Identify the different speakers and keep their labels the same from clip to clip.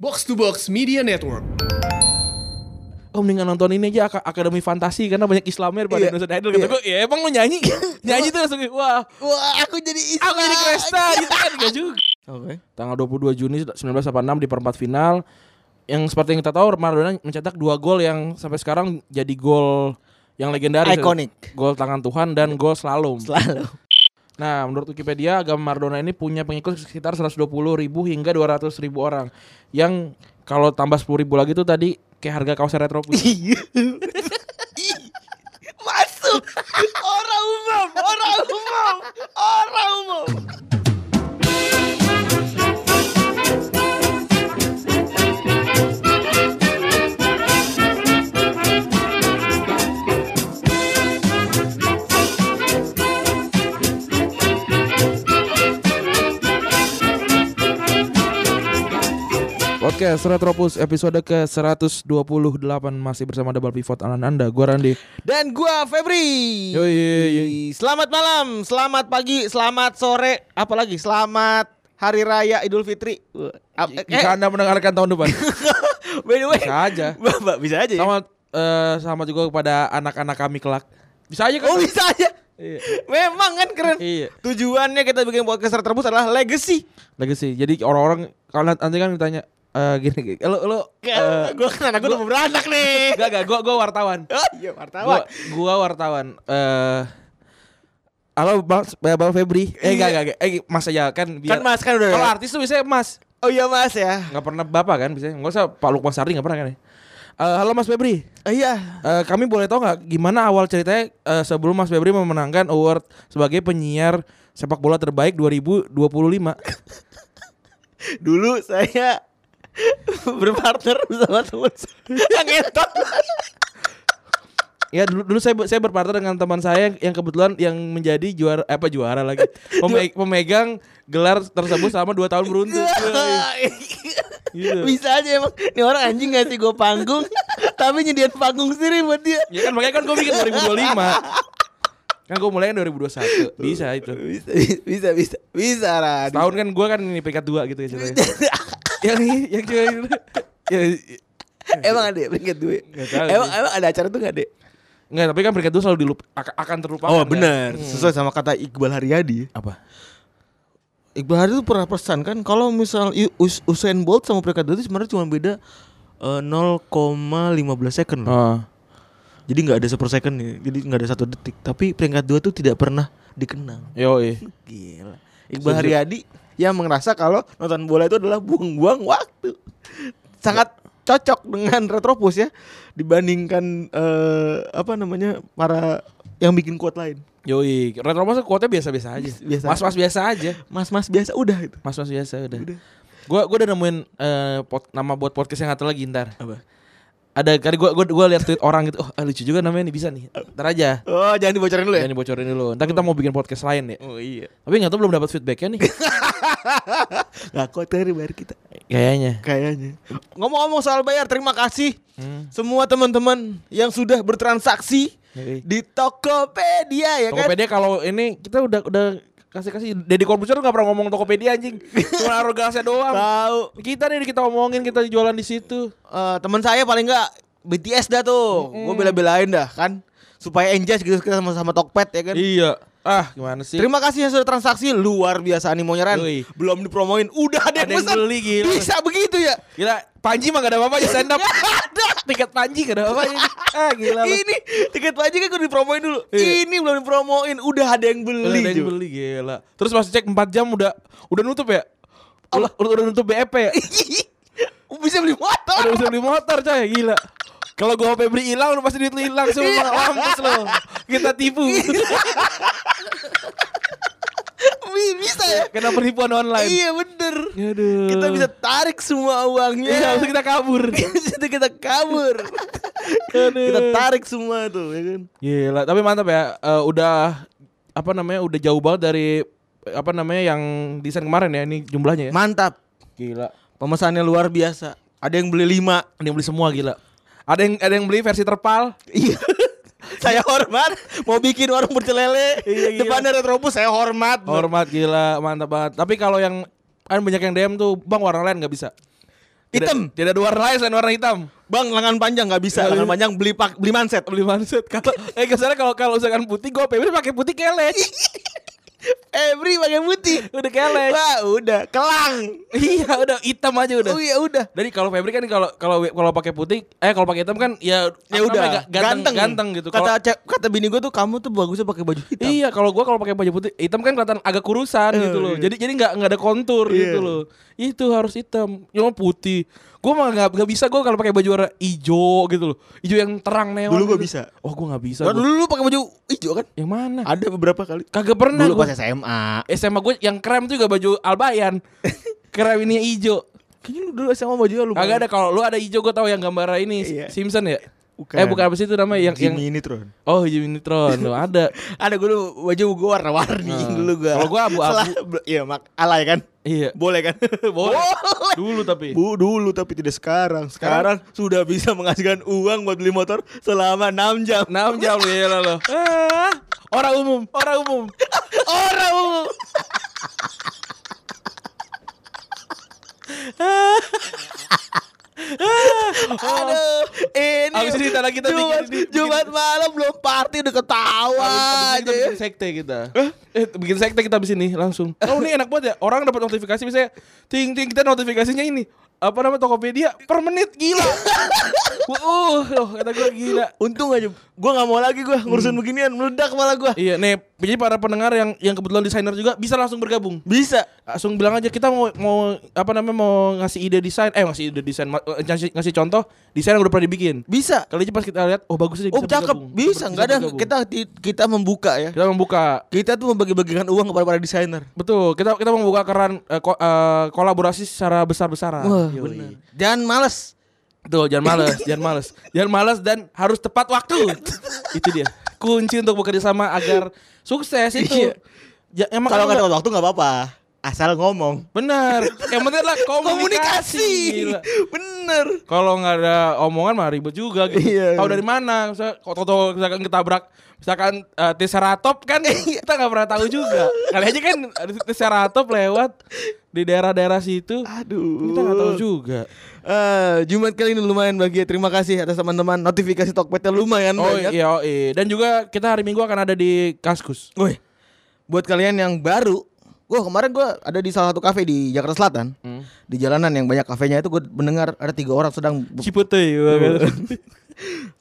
Speaker 1: Box to Box Media Network.
Speaker 2: oh mendingan nonton ini aja Ak- Akademi Fantasi karena banyak Islamnya daripada
Speaker 3: Iya.
Speaker 2: Indonesia Idol kata
Speaker 3: Iya.
Speaker 2: gue ya emang lu nyanyi nyanyi tuh langsung wah
Speaker 3: Wah, aku jadi Islam.
Speaker 2: aku jadi Kresta gitu kan gak juga
Speaker 3: Iya. Oke.
Speaker 2: tanggal 22 Juni 1986 di perempat final yang seperti yang kita tahu Maradona mencetak dua gol yang sampai sekarang jadi gol yang legendaris
Speaker 3: Iconic.
Speaker 2: gol tangan Tuhan dan gol slalom
Speaker 3: Selalu.
Speaker 2: Nah, menurut Wikipedia, agama Maradona ini punya pengikut sekitar 120 ribu hingga 200 ribu orang. Yang kalau tambah 10 ribu lagi tuh tadi kayak harga kaos retro putih.
Speaker 3: Masuk. Orang umum, orang umum, orang umum.
Speaker 2: Podcast Retropus episode ke-128 masih bersama Double Pivot anan Anda. Gua Randi.
Speaker 3: Dan gua Febri.
Speaker 2: Yoi, yoi, yoi.
Speaker 3: Selamat malam, selamat pagi, selamat sore, apalagi selamat Hari Raya Idul Fitri. Wah, ap- eh,
Speaker 2: Jika Anda mendengarkan tahun depan.
Speaker 3: by the way,
Speaker 2: Bisa aja.
Speaker 3: Bapak bisa aja. ya?
Speaker 2: Sama eh, sama juga kepada anak-anak kami kelak. Bisa aja kan?
Speaker 3: Oh bisa aja.
Speaker 2: Iya.
Speaker 3: Memang kan keren.
Speaker 2: Iya.
Speaker 3: Tujuannya kita bikin podcast tertebus adalah legacy.
Speaker 2: Legacy. Jadi orang-orang kalau nanti kan ditanya eh gini, gini. Eh, Lu lu eh,
Speaker 3: Gue kan anak gue udah mau beranak nih.
Speaker 2: Gak gak, gua gua wartawan.
Speaker 3: Oh iya wartawan.
Speaker 2: Gua, gua wartawan. Eh Halo Bang, Bang Febri. Eh enggak enggak. Eh Mas aja kan biar
Speaker 3: Iya. kan mas kan udah.
Speaker 2: Kalau artis tuh biasanya Mas.
Speaker 3: Oh iya mas ya.
Speaker 2: Enggak pernah Bapak kan biasanya. Enggak usah Pak Lukman Sardi enggak pernah kan ya. Eh, halo Mas Febri.
Speaker 3: Oh, iya.
Speaker 2: Eh kami boleh tahu nggak gimana awal ceritanya eh, sebelum Mas Febri memenangkan award sebagai penyiar sepak bola terbaik 2025?
Speaker 3: Dulu saya berpartner bersama teman saya yang ngentot.
Speaker 2: ya dulu dulu saya saya berpartner dengan teman saya yang kebetulan yang menjadi juara eh, apa juara lagi Peme- pemegang gelar tersebut selama 2 tahun beruntun.
Speaker 3: Iya.
Speaker 2: Gitu.
Speaker 3: Bisa aja emang Ini orang anjing ngasih gue panggung Tapi nyediain panggung sendiri buat dia
Speaker 2: Ya kan makanya kan gue bikin 2025. Kan gue mulai kan 2021. Bisa itu.
Speaker 3: Bisa bisa bisa Bisa Ran
Speaker 2: Tahun kan gue kan ini peringkat 2 gitu ya ceritanya. yang yang cewek itu. Ya,
Speaker 3: Emang ada ya peringkat gue
Speaker 2: Nggak tahu
Speaker 3: Emang,
Speaker 2: sih.
Speaker 3: emang ada acara tuh gak deh
Speaker 2: enggak, tapi kan peringkat 2 selalu dilup ak- akan terlupakan.
Speaker 3: Oh
Speaker 2: kan?
Speaker 3: benar, sesuai sama kata Iqbal Haryadi.
Speaker 2: Apa?
Speaker 3: Iqbal Haryadi tuh pernah pesan kan kalau misal I- Us- Usain Bolt sama peringkat dua itu sebenarnya cuma beda eh, 0,15 second. loh.
Speaker 2: Oh.
Speaker 3: Jadi nggak ada seper second ya, jadi nggak ada satu detik. Tapi peringkat dua tuh tidak pernah dikenang.
Speaker 2: Yoi.
Speaker 3: Gila. Iqbal Haryadi yang merasa kalau nonton bola itu adalah buang-buang waktu. Sangat cocok dengan Retropus ya dibandingkan eh, apa namanya para yang bikin kuat lain.
Speaker 2: Yoi. Retro Mas kuotnya biasa-biasa aja.
Speaker 3: Biasa.
Speaker 2: Mas-mas biasa aja.
Speaker 3: Mas-mas biasa udah gitu. itu.
Speaker 2: Mas-mas biasa udah. Gua gua udah nemuin eh, pot- nama buat podcast yang satu lagi ntar.
Speaker 3: Apa?
Speaker 2: Ada kali gua gua gua lihat tweet orang gitu. Oh, ah, lucu juga namanya nih bisa nih. Ntar aja.
Speaker 3: Oh, jangan dibocorin dulu ya.
Speaker 2: Jangan dibocorin dulu. Ntar kita mau bikin podcast lain ya.
Speaker 3: Oh iya.
Speaker 2: Tapi nggak tahu belum dapat feedbacknya nih.
Speaker 3: Gak kuat dari bayar kita
Speaker 2: Kayaknya.
Speaker 3: kayaknya. Ngomong-ngomong soal bayar, terima kasih semua teman-teman yang sudah bertransaksi
Speaker 2: Yoi.
Speaker 3: di Tokopedia ya kan.
Speaker 2: Tokopedia kalau ini kita udah udah kasih kasih. Deddy Corbuzier tuh nggak pernah ngomong Tokopedia anjing. Cuma arogansinya doang.
Speaker 3: Tahu
Speaker 2: Kita nih kita omongin kita jualan di situ.
Speaker 3: eh, teman saya paling enggak BTS dah tuh. Gue bela-belain dah kan supaya engage gitu kita sama-sama Tokped ya kan.
Speaker 2: Iya. Ah, gimana sih?
Speaker 3: Terima kasih yang sudah transaksi luar biasa animonya Ran.
Speaker 2: Yoi.
Speaker 3: Belum dipromoin, udah ada
Speaker 2: Ada yang
Speaker 3: pesan.
Speaker 2: beli, gila.
Speaker 3: Bisa begitu ya?
Speaker 2: Gila, Panji mah gak ada apa-apa ya stand up. Tiket Panji gak ada apa-apa. Ah, gila lu.
Speaker 3: Ini tiket wajib kan gue dipromoin dulu.
Speaker 2: Iya.
Speaker 3: Ini belum dipromoin, udah ada yang beli.
Speaker 2: Udah ada yang
Speaker 3: Jo.
Speaker 2: beli gila. Terus pas cek 4 jam udah udah nutup ya? Udah, udah, udah nutup BEP ya?
Speaker 3: Iya. bisa beli motor.
Speaker 2: udah bisa beli motor coy, gila. Kalau gua HP beli hilang udah pasti duit lu hilang semua
Speaker 3: Iya.
Speaker 2: mampus lo. Kita tipu.
Speaker 3: Bi- bisa ya.
Speaker 2: Kena penipuan online.
Speaker 3: Iya bener.
Speaker 2: Aduh.
Speaker 3: Kita bisa tarik semua
Speaker 2: Iya,
Speaker 3: uangnya.
Speaker 2: langsung kita kabur.
Speaker 3: Itu kita kabur.
Speaker 2: Aduh.
Speaker 3: kita tarik semua tuh, ya kan?
Speaker 2: Gila, tapi mantap ya. Eh, udah apa namanya? Udah jauh banget dari eh, apa namanya yang desain kemarin ya ini jumlahnya ya.
Speaker 3: Mantap.
Speaker 2: Gila.
Speaker 3: Pemesannya luar biasa. Ada yang beli lima.
Speaker 2: Ada yang beli semua gila. Ada yang ada yang beli versi terpal.
Speaker 3: Iya. saya hormat mau bikin warung pecel lele
Speaker 2: Iya, gila.
Speaker 3: depannya retrobus saya hormat
Speaker 2: Hormat gila, mantap banget. Tapi kalau yang kan banyak yang DM tuh, Bang warna lain nggak bisa. Tidak-
Speaker 3: Hitam.
Speaker 2: Tidak ada warna lain selain warna hitam.
Speaker 3: Bang lengan panjang nggak bisa, lengan panjang beli pak Iya. beli manset.
Speaker 2: Beli manset. Kalau eh kesannya kalau kalau misalkan putih gue pengen pakai putih kelek.
Speaker 3: Every pakai putih.
Speaker 2: Udah kelek.
Speaker 3: Wah, udah kelang.
Speaker 2: iya, udah hitam aja udah.
Speaker 3: Oh iya udah.
Speaker 2: Dari kalau Febri kan kalau kalau kalau pakai putih, eh kalau pakai hitam kan ya apa
Speaker 3: Ya udah,
Speaker 2: namanya, ga- ganteng, ganteng gitu. Kalau-
Speaker 3: Kata ce- kata bini gue tuh kamu tuh bagusnya pakai baju hitam. Eh,
Speaker 2: Iya, kalau gua kalau pakai baju putih, hitam kan kelihatan agak kurusan gitu loh.
Speaker 3: iya.
Speaker 2: Jadi jadi nggak nggak ada kontur gitu loh. Itu harus hitam, yang putih. Gua mah nggak nggak bisa gua kalau pakai baju warna hijau gitu loh. Hijau yang terang neon.
Speaker 3: Dulu gua
Speaker 2: gitu.
Speaker 3: bisa.
Speaker 2: Oh, gua nggak bisa.
Speaker 3: Kan
Speaker 2: gua.
Speaker 3: dulu lu pakai baju hijau kan?
Speaker 2: Yang mana?
Speaker 3: Ada beberapa kali.
Speaker 2: Kagak pernah
Speaker 3: Dulu
Speaker 2: gua.
Speaker 3: pas SMA.
Speaker 2: SMA gua yang krem tuh juga baju albayan. krem ini hijau.
Speaker 3: Kayaknya lu dulu SMA bajunya lu.
Speaker 2: Kagak ada kalau lu ada hijau gua tahu yang gambar ini
Speaker 3: Iya.
Speaker 2: Simpson ya?
Speaker 3: Bukan.
Speaker 2: Eh bukan apa sih itu namanya yang yang
Speaker 3: Jimmy ini Tron.
Speaker 2: Oh, Jimmy Neutron. Loh, ada.
Speaker 3: Ada gue dulu baju gue warna-warni
Speaker 2: Nah.
Speaker 3: dulu gue.
Speaker 2: Kalau gua abu-abu.
Speaker 3: Iya mak alay kan?
Speaker 2: Iya.
Speaker 3: Boleh kan?
Speaker 2: Boleh. Dulu tapi.
Speaker 3: Bu dulu tapi tidak sekarang. Sekarang, sudah bisa menghasilkan uang buat beli motor selama 6 jam.
Speaker 2: 6 jam lu ya lo. Ah, orang umum, orang umum.
Speaker 3: Orang umum. Aduh, Oh. ini
Speaker 2: Abis ini ntar lagi kita bikin-
Speaker 3: Jumat,
Speaker 2: bikin-
Speaker 3: Jumat malam belum party udah ketawa
Speaker 2: Abis Oh. ini
Speaker 3: aja
Speaker 2: kita
Speaker 3: ya.
Speaker 2: bikin sekte kita. Eh, bikin sekte kita abis ini langsung. Oh, ini enak banget ya. Orang dapat notifikasi misalnya ting ting kita notifikasinya ini. Apa nama Tokopedia per menit gila. uh, loh, kata gue gila.
Speaker 3: Untung aja gua nggak mau lagi gua ngurusin beginian meledak malah gua.
Speaker 2: Iya, nih jadi para pendengar yang yang kebetulan desainer juga bisa langsung bergabung.
Speaker 3: Bisa.
Speaker 2: langsung bilang aja kita mau mau apa namanya mau ngasih ide desain eh ngasih ide desain ma- eh, ngasih, ngasih contoh desain yang udah pernah dibikin
Speaker 3: Bisa.
Speaker 2: kali aja pas kita lihat oh bagus sih
Speaker 3: Oh cakep,
Speaker 2: bergabung.
Speaker 3: bisa. Enggak ada
Speaker 2: bergabung.
Speaker 3: kita di- kita membuka ya.
Speaker 2: kita membuka
Speaker 3: Kita tuh membagi-bagikan uang kepada para desainer.
Speaker 2: betul kita kita membuka keran eh, ko- eh, kolaborasi secara besar besaran
Speaker 3: Wah, benar. Jangan males.
Speaker 2: betul jangan males jangan males jangan males dan harus tepat waktu itu dia kunci untuk bekerja sama agar sukses itu
Speaker 3: Iya.
Speaker 2: Ja- emang kamu
Speaker 3: Kalau nggak ada waktu nggak apa-apa. Asal ngomong.
Speaker 2: benar yang penting adalah komunikasi,
Speaker 3: Oh, Komunikasi.
Speaker 2: Gila.
Speaker 3: Bener.
Speaker 2: Kalau nggak ada omongan mah ribet juga gitu.
Speaker 3: Iya.
Speaker 2: Tahu dari mana? Misalnya kok toto misalkan ketabrak misalkan eh, Triceratops kan
Speaker 3: Iya.
Speaker 2: kita nggak pernah tahu juga. Kali aja kan ada Triceratops lewat di daerah-daerah situ.
Speaker 3: Aduh.
Speaker 2: Kita nggak tahu juga.
Speaker 3: Eh, Jumat kali ini lumayan bagi ya. Terima kasih atas teman-teman. Notifikasi Tokpetnya lumayan
Speaker 2: Oh
Speaker 3: banyak.
Speaker 2: iya, oh, iya. Dan juga kita hari Minggu akan ada di Kaskus.
Speaker 3: Woi, buat kalian yang baru, gue kemarin gue ada di salah satu kafe di Jakarta Selatan, di jalanan yang banyak kafenya itu gue mendengar ada tiga orang sedang
Speaker 2: Cipete. iya,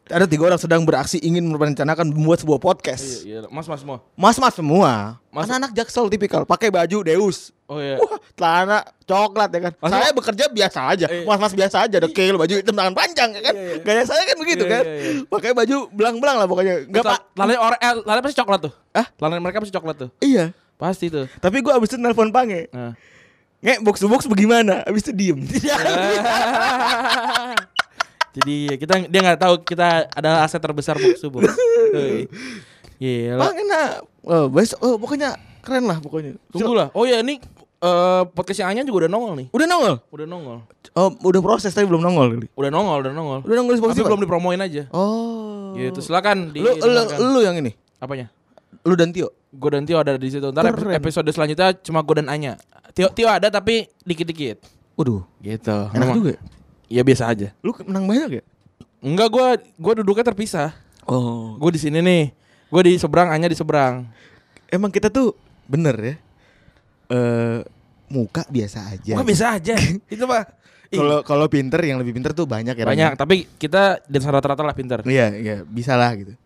Speaker 3: ada tiga orang sedang beraksi ingin merencanakan membuat sebuah
Speaker 2: Iya,
Speaker 3: podcast.
Speaker 2: Mas-mas semua.
Speaker 3: Mas-mas semua,
Speaker 2: Mas-
Speaker 3: anak-anak jaksel tipikal, pakai baju Deus.
Speaker 2: Oh iya.
Speaker 3: Wah, celana coklat ya kan.
Speaker 2: Mas-
Speaker 3: saya bekerja biasa aja.
Speaker 2: Iya.
Speaker 3: Mas-mas biasa aja, dekil baju hitam tangan panjang ya kan. Gaya saya kan begitu
Speaker 2: Iya,
Speaker 3: kan.
Speaker 2: iya, iya.
Speaker 3: Pakai baju belang-belang lah pokoknya. Enggak, Pak.
Speaker 2: Lalu orang eh, lalu pasti coklat tuh.
Speaker 3: Hah?
Speaker 2: Lalu mereka pasti coklat tuh.
Speaker 3: Iya.
Speaker 2: Pasti tuh.
Speaker 3: Tapi gua abis itu nelpon Pange.
Speaker 2: Nah.
Speaker 3: Nge, box to box bagaimana? Abis itu diem.
Speaker 2: Iya. Jadi kita dia nggak tahu kita adalah aset terbesar box to box. Hei. Gila.
Speaker 3: Pange nah, eh, besok, eh, pokoknya keren lah pokoknya.
Speaker 2: Tunggulah. Oh ya ini eh podcast yang Anya juga udah nongol nih.
Speaker 3: Udah nongol?
Speaker 2: Udah nongol.
Speaker 3: Oh, udah proses tapi belum nongol kali.
Speaker 2: Udah nongol, udah nongol.
Speaker 3: Udah nongol di
Speaker 2: Tapi
Speaker 3: Spotify?
Speaker 2: belum dipromoin aja.
Speaker 3: Oh.
Speaker 2: Gitu. Silakan di
Speaker 3: Lu, lu, lu yang ini?
Speaker 2: apanya?
Speaker 3: Lu dan Tio?
Speaker 2: Gue dan Tio ada di situ. Ntar ep-
Speaker 3: Keren.
Speaker 2: episode selanjutnya cuma gue dan Anya. Tio Tio ada tapi dikit-dikit.
Speaker 3: Waduh,
Speaker 2: Gitu.
Speaker 3: enak
Speaker 2: Memang-
Speaker 3: juga ya?
Speaker 2: Ya biasa aja.
Speaker 3: Lu menang banyak ya?
Speaker 2: Enggak gue gue duduknya terpisah.
Speaker 3: Oh.
Speaker 2: Gue di sini nih. Gue di seberang, Anya di seberang.
Speaker 3: emang kita tuh bener ya eh muka biasa aja
Speaker 2: Bukan bisa aja. Itu mah Ih,
Speaker 3: Iya, kalau kalau pinter yang lebih pinter tuh banyak ya
Speaker 2: Iya. banyak, tapi kita di atas rata-rata lah pinter.
Speaker 3: Ram. iya iya bisa lah gitu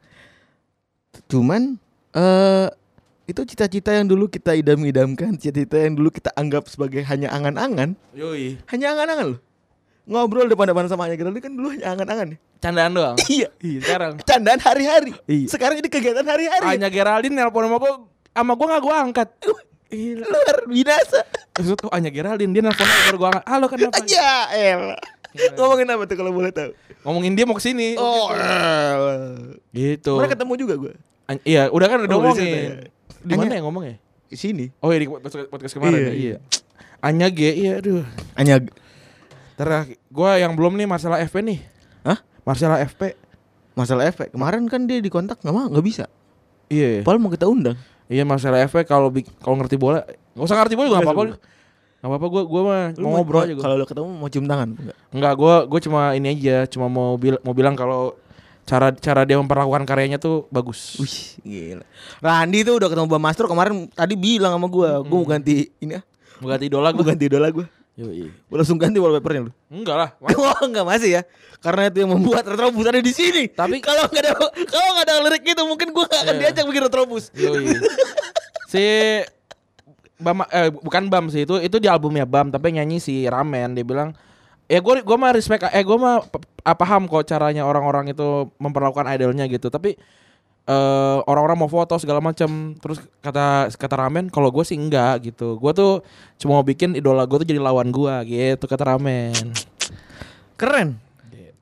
Speaker 3: cuman eh itu cita-cita yang dulu kita idam-idamkan cita-cita yang dulu kita anggap sebagai hanya angan-angan
Speaker 2: Yoi.
Speaker 3: hanya angan-angan loh ngobrol depan-depan sama hanya kita dulu kan dulu hanya angan-angan ya
Speaker 2: Candaan doang.
Speaker 3: iya
Speaker 2: Ih, sekarang
Speaker 3: candaan hari-hari
Speaker 2: Iya.
Speaker 3: sekarang ini kegiatan hari-hari
Speaker 2: Anya Geraldine nelpon sama gue, sama gue gak gue angkat. Gila.
Speaker 3: luar binasa
Speaker 2: Maksud tuh Anya Geraldine dia nelpon sama gue angkat. Halo kenapa?
Speaker 3: aja el ngomongin apa tuh kalau boleh tahu
Speaker 2: Ngomongin dia mau kesini.
Speaker 3: Oh, eh.
Speaker 2: Gitu.
Speaker 3: Kemarin ketemu juga gue
Speaker 2: An- iya, udah kan udah
Speaker 3: Oh, udah cerita
Speaker 2: ngomongin.
Speaker 3: ya.
Speaker 2: Di mana
Speaker 3: Anya-
Speaker 2: ya ngomongnya?
Speaker 3: di sini.
Speaker 2: Oh iya di podcast, podcast kemarin.
Speaker 3: Iya,
Speaker 2: Iya. Anya G, iya aduh.
Speaker 3: Hanya
Speaker 2: Ntar gue yang belum nih masalah FP nih.
Speaker 3: Hah?
Speaker 2: Masalah FP.
Speaker 3: Masalah efek. Kemarin kan dia dikontak nggak mau, nggak bisa.
Speaker 2: Iya.
Speaker 3: Padahal mau kita undang.
Speaker 2: Iya masalah efek kalau bik- kalau ngerti bola nggak usah ngerti bola juga nggak apa-apa. Gak apa-apa gue gua mah
Speaker 3: Lu
Speaker 2: mau
Speaker 3: mau-
Speaker 2: ngobrol aja gue.
Speaker 3: Kalau lu ketemu mau cium tangan enggak?
Speaker 2: Enggak, gue gue cuma ini aja, cuma mau bil- mau bilang kalau cara cara dia memperlakukan karyanya tuh bagus.
Speaker 3: Wih, gila. Randi tuh udah ketemu Bang Master kemarin tadi bilang sama gua, gua mau ganti ini ah.
Speaker 2: Mengganti idola
Speaker 3: Gua
Speaker 2: gue.
Speaker 3: ganti idola gua. Gua langsung ganti wallpapernya lu.
Speaker 2: Enggak lah. Wah,
Speaker 3: Wah, enggak masih ya. Karena itu yang membuat Retrobus ada di sini.
Speaker 2: Tapi-
Speaker 3: kalau enggak ada kalau enggak ada lirik itu mungkin gua enggak akan
Speaker 2: Iya.
Speaker 3: diajak bikin Retrobus.
Speaker 2: Yoi. si Bam eh bukan Bam sih itu itu di albumnya Bam tapi nyanyi si Ramen dia bilang ya gue gue mah respect eh gue mah p- ah, paham kok caranya orang-orang itu memperlakukan idolnya gitu tapi eh orang-orang mau foto segala macam terus kata kata Ramen kalau gue sih enggak gitu gue tuh cuma mau bikin idola gue tuh jadi lawan gue gitu kata Ramen
Speaker 3: Keren.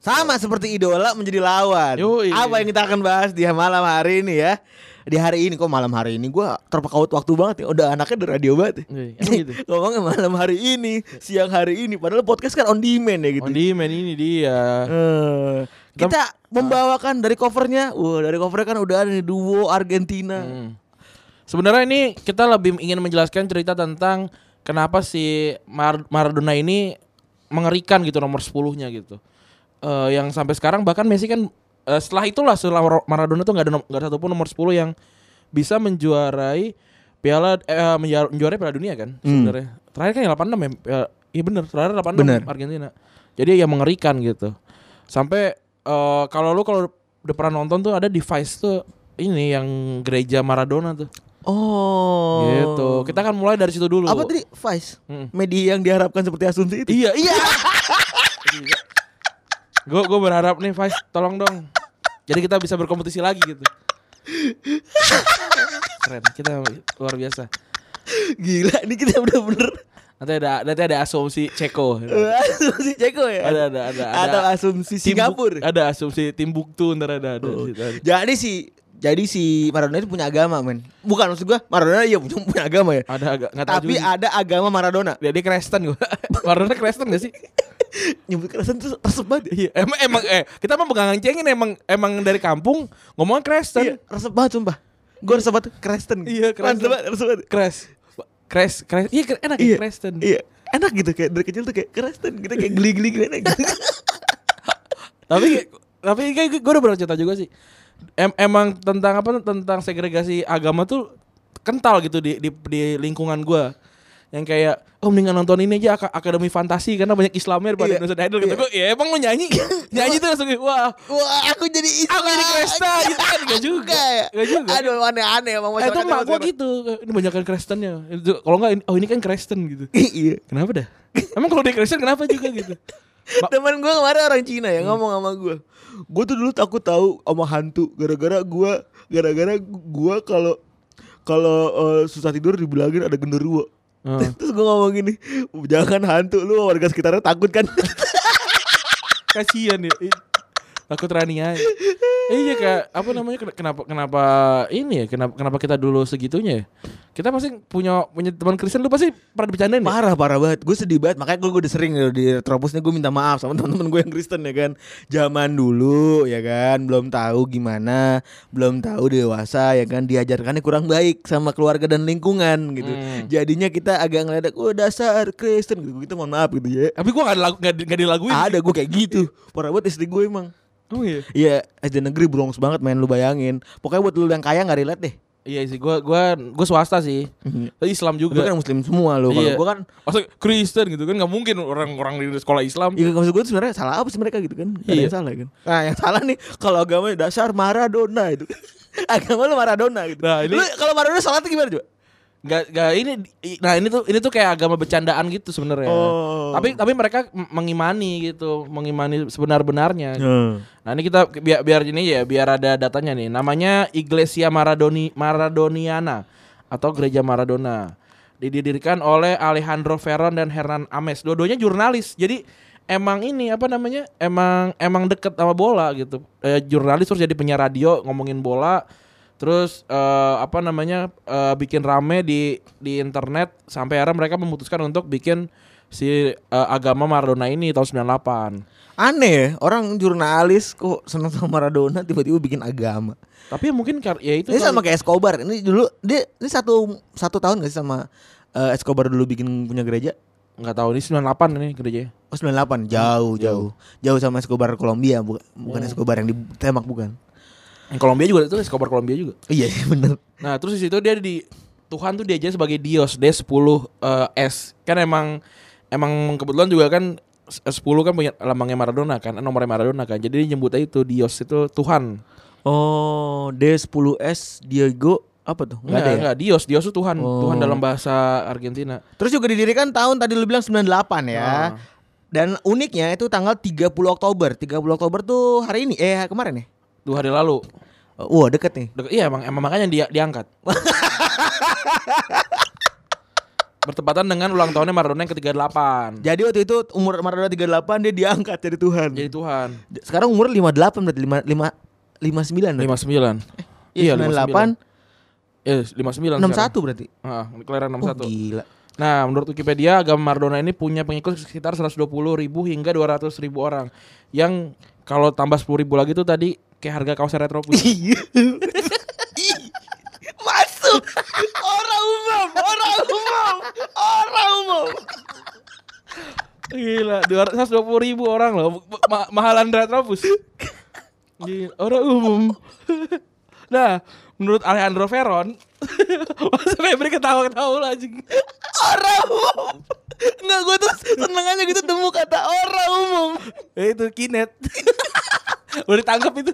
Speaker 3: Sama seperti idola menjadi lawan.
Speaker 2: Gitu. Yoi.
Speaker 3: Apa yang kita akan bahas di malam hari ini ya? Di hari ini kok malam hari ini gua terpekaut waktu banget ya. Udah anaknya dari radio banget. Ya.
Speaker 2: Yoi, emang gitu?
Speaker 3: Ngomongnya malam hari ini, siang hari ini padahal podcast kan on demand ya gitu.
Speaker 2: Ondi man Oh, ini dia
Speaker 3: Eh, kita
Speaker 2: Ah.
Speaker 3: membawakan dari covernya. Wah, dari covernya kan udah ada nih duo Argentina.
Speaker 2: Hmm. Sebenarnya ini kita lebih ingin menjelaskan cerita tentang kenapa si Mar- Maradona ini mengerikan gitu nomor 10-nya gitu. Eh, yang sampai sekarang bahkan Messi kan eh, setelah itulah setelah Mar- Maradona tuh nggak ada nom- nggak ada satupun nomor 10 yang bisa menjuarai piala eh, menja- menjuarai piala dunia kan sebenarnya. Terakhir kan yang 86 ya. Piala- Iya bener, terakhir 86
Speaker 3: Bener.
Speaker 2: Argentina. Jadi ya mengerikan gitu. Sampai eh, kalau lu kalau udah pernah nonton tuh ada device tuh ini yang gereja Maradona tuh.
Speaker 3: Oh.
Speaker 2: Gitu. Kita akan mulai dari situ dulu.
Speaker 3: Apa tadi Vice?
Speaker 2: Mm.
Speaker 3: Media yang diharapkan seperti asumsi itu.
Speaker 2: Iya, iya. Gue gue berharap nih Vice tolong dong. Jadi kita bisa berkompetisi lagi gitu. Keren, kita luar biasa.
Speaker 3: Gila, ini kita udah bener
Speaker 2: Nanti ada nanti ada asumsi Ceko.
Speaker 3: asumsi Ceko ya.
Speaker 2: Ada ada ada
Speaker 3: Atau asumsi
Speaker 2: Timbuk-
Speaker 3: Singapura. Oh,
Speaker 2: Ada asumsi Timbuktu ntar ada ada. di situ, ada.
Speaker 3: Jadi si jadi si Maradona itu punya agama, men. Bukan maksud gua, Maradona ya punya, punya agama ya.
Speaker 2: Ada agak nggak tahu
Speaker 3: Tapi
Speaker 2: juga sih.
Speaker 3: ada agama Maradona.
Speaker 2: dia, dia Kristen gue. Maradona Kristen gak sih?
Speaker 3: Nyebut kerasan tuh resep banget. ya.
Speaker 2: Iya, emang emang eh kita mah pegangan cengin emang emang dari kampung ngomong
Speaker 3: Iya,
Speaker 2: Kristen.
Speaker 3: resep banget sumpah. Gua resep banget Kristen.
Speaker 2: Iya, Kristen.
Speaker 3: Resep banget, resep banget.
Speaker 2: Crash. Crash, crash. Iya, kre- enak ya Kristen.
Speaker 3: Iya. Enak gitu kayak dari kecil tuh kayak Kristen kita kayak geli-geli gitu. enak gitu.
Speaker 2: Tapi tapi kayak gue udah pernah cerita juga sih. Em- emang tentang apa tentang segregasi agama tuh kental gitu di di, di lingkungan gua yang kayak oh mendingan nonton ini aja Ak- akademi fantasi karena banyak Islamnya daripada
Speaker 3: Iya.
Speaker 2: Indonesian Idol kata
Speaker 3: Iya.
Speaker 2: gua ya emang lu nyanyi nyanyi tuh langsung wah
Speaker 3: Wah, aku jadi Islam.
Speaker 2: Aku jadi Kristen gitu kan Gak juga
Speaker 3: ya.
Speaker 2: Gak juga
Speaker 3: Aduh, aneh-aneh emang
Speaker 2: Eh, itu emak
Speaker 3: masyarakat zaman
Speaker 2: gue
Speaker 3: sekarang.
Speaker 2: gitu Ini banyakan Kristennya Itu- Kalau enggak ini- Oh ini kan Kristen gitu
Speaker 3: Iya.
Speaker 2: Kenapa dah? Emang kalau dia Kristen kenapa juga gitu? Ma-
Speaker 3: Teman gue kemarin orang Cina ya ngomong sama gue. Gue tuh dulu takut tahu sama hantu gara-gara gue gara-gara gue kalau kalau eh, susah tidur dibilangin ada genderuwo.
Speaker 2: Heeh.
Speaker 3: Terus gue ngomong gini, jangan hantu lu warga sekitarnya takut kan?
Speaker 2: Kasian ya Ih, Takut Rania Eh, Iya kayak Apa namanya ken- Kenapa Kenapa ini ya Kenapa, kenapa kita dulu segitunya ya Kita pasti punya punya teman Kristen Lu pasti pernah bercandain ya?
Speaker 3: parah parah banget, gue sedih banget. Makanya gue udah sering ya, di Retropusnya gue minta maaf sama teman-teman gue yang Kristen ya kan. Zaman dulu ya kan, belum tahu gimana, belum tahu dewasa ya kan, diajarkannya kurang baik sama keluarga dan lingkungan gitu.
Speaker 2: Hmm.
Speaker 3: Jadinya kita agak ngeliat, oh dasar Kristen gitu. Kita mohon maaf gitu ya.
Speaker 2: Tapi gue gak, ada lagu, gak, di- gak dilaguin
Speaker 3: Ada gue kayak gitu. Parah banget istri gue emang.
Speaker 2: Oh iya
Speaker 3: Iya, SD negeri Bronx banget main lu bayangin. Pokoknya buat lu yang kaya nggak relate deh.
Speaker 2: Iya sih Gue gua, gua swasta sih Tapi Islam
Speaker 3: Gue
Speaker 2: juga
Speaker 3: kan muslim semua lo. Kalau
Speaker 2: Iya.
Speaker 3: gue kan
Speaker 2: Maksudnya Kristen gitu kan nggak mungkin orang-orang di sekolah Islam
Speaker 3: Iya maksud gue tuh sebenarnya salah apa sih mereka gitu kan? Gak ada
Speaker 2: Iya.
Speaker 3: yang salah kan? Nah yang salah nih kalau agamanya dasar Maradona itu. Agama lu Maradona gitu.
Speaker 2: Nah, ini-
Speaker 3: Lu kalau Maradona salatnya gimana coba?
Speaker 2: Gak, gak ini i- nah ini tuh ini tuh kayak agama bercandaan gitu sebenarnya.
Speaker 3: Oh.
Speaker 2: Tapi tapi mereka m- mengimani gitu, mengimani sebenar-benarnya. Nah, ini kita biar biar ini ya, biar ada datanya nih. Namanya Iglesia Maradoni Maradoniana atau Gereja Maradona. Didirikan oleh Alejandro Ferron dan Hernan Ames. Dua-duanya jurnalis. Jadi emang ini apa namanya? Emang emang deket sama bola gitu. Eh, jurnalis terus jadi penyiar radio ngomongin bola. Terus eh, apa namanya eh, bikin rame di di internet sampai akhirnya mereka memutuskan untuk bikin si eh, agama Maradona ini tahun 98.
Speaker 3: Aneh ya orang jurnalis kok seneng sama Maradona tiba-tiba bikin agama.
Speaker 2: Tapi ya mungkin kar- ya itu
Speaker 3: Ini
Speaker 2: kali.
Speaker 3: sama kayak Escobar. Ini dulu dia ini satu satu tahun gak sih sama eh, Escobar dulu bikin punya gereja?
Speaker 2: nggak tahu ini 98 ini gerejanya.
Speaker 3: Oh 98 jauh jauh jauh sama Escobar Kolombia bukan bukan Escobar yang ditembak bukan
Speaker 2: Yang Kolombia juga itu Escobar Kolombia juga.
Speaker 3: iya iya, bener
Speaker 2: Nah, terus di situ dia di Tuhan tuh diajarin sebagai Dios, dia 10 eh, S. Kan emang emang kebetulan juga kan s- 10 kan punya lambangnya Maradona kan, eh, nomornya Maradona kan. Jadi dia nyebutnya itu Dios itu Tuhan.
Speaker 3: oh D10S Diego apa tuh nggak
Speaker 2: Enggak,
Speaker 3: ada ya?
Speaker 2: enggak, Dios, Dios itu Tuhan,
Speaker 3: Oh.
Speaker 2: Tuhan dalam bahasa Argentina.
Speaker 3: terus juga didirikan tahun tadi lu bilang 98
Speaker 2: Ah.
Speaker 3: ya dan uniknya itu tanggal 30 Oktober 30 Oktober tuh hari ini eh kemarin ya
Speaker 2: Dua hari lalu.
Speaker 3: Wah deket nih
Speaker 2: Dek- iya, emang, emang makanya dia diangkat. Bertepatan dengan ulang tahunnya Maradona yang ke-38.
Speaker 3: Jadi waktu itu umur Maradona 38 dia diangkat jadi Tuhan.
Speaker 2: Jadi Tuhan.
Speaker 3: Sekarang umur 58 berarti 5 59 berarti.
Speaker 2: 59.
Speaker 3: Iya, 98
Speaker 2: Eh, 59.
Speaker 3: 61 berarti.
Speaker 2: Heeh, kelahiran
Speaker 3: Oh
Speaker 2: 61.
Speaker 3: gila.
Speaker 2: Nah, menurut Wikipedia, agama Maradona ini punya pengikut sekitar 120 ribu hingga 200 ribu orang. Yang kalau tambah 10 ribu lagi tuh tadi kayak harga kaos retro Punya.
Speaker 3: Iya, Masuk. Orang umum, orang umum, orang umum.
Speaker 2: Gila, 120 ribu orang loh. Ma- mahalan Retropus. Gila, orang umum. nah, menurut Alejandro Veron, masa Febri ketawa-ketawa lah anjing.
Speaker 3: Orang umum. Enggak gue tuh seneng aja gitu temu kata orang umum.
Speaker 2: Ya itu kinet. Udah ditangkap itu.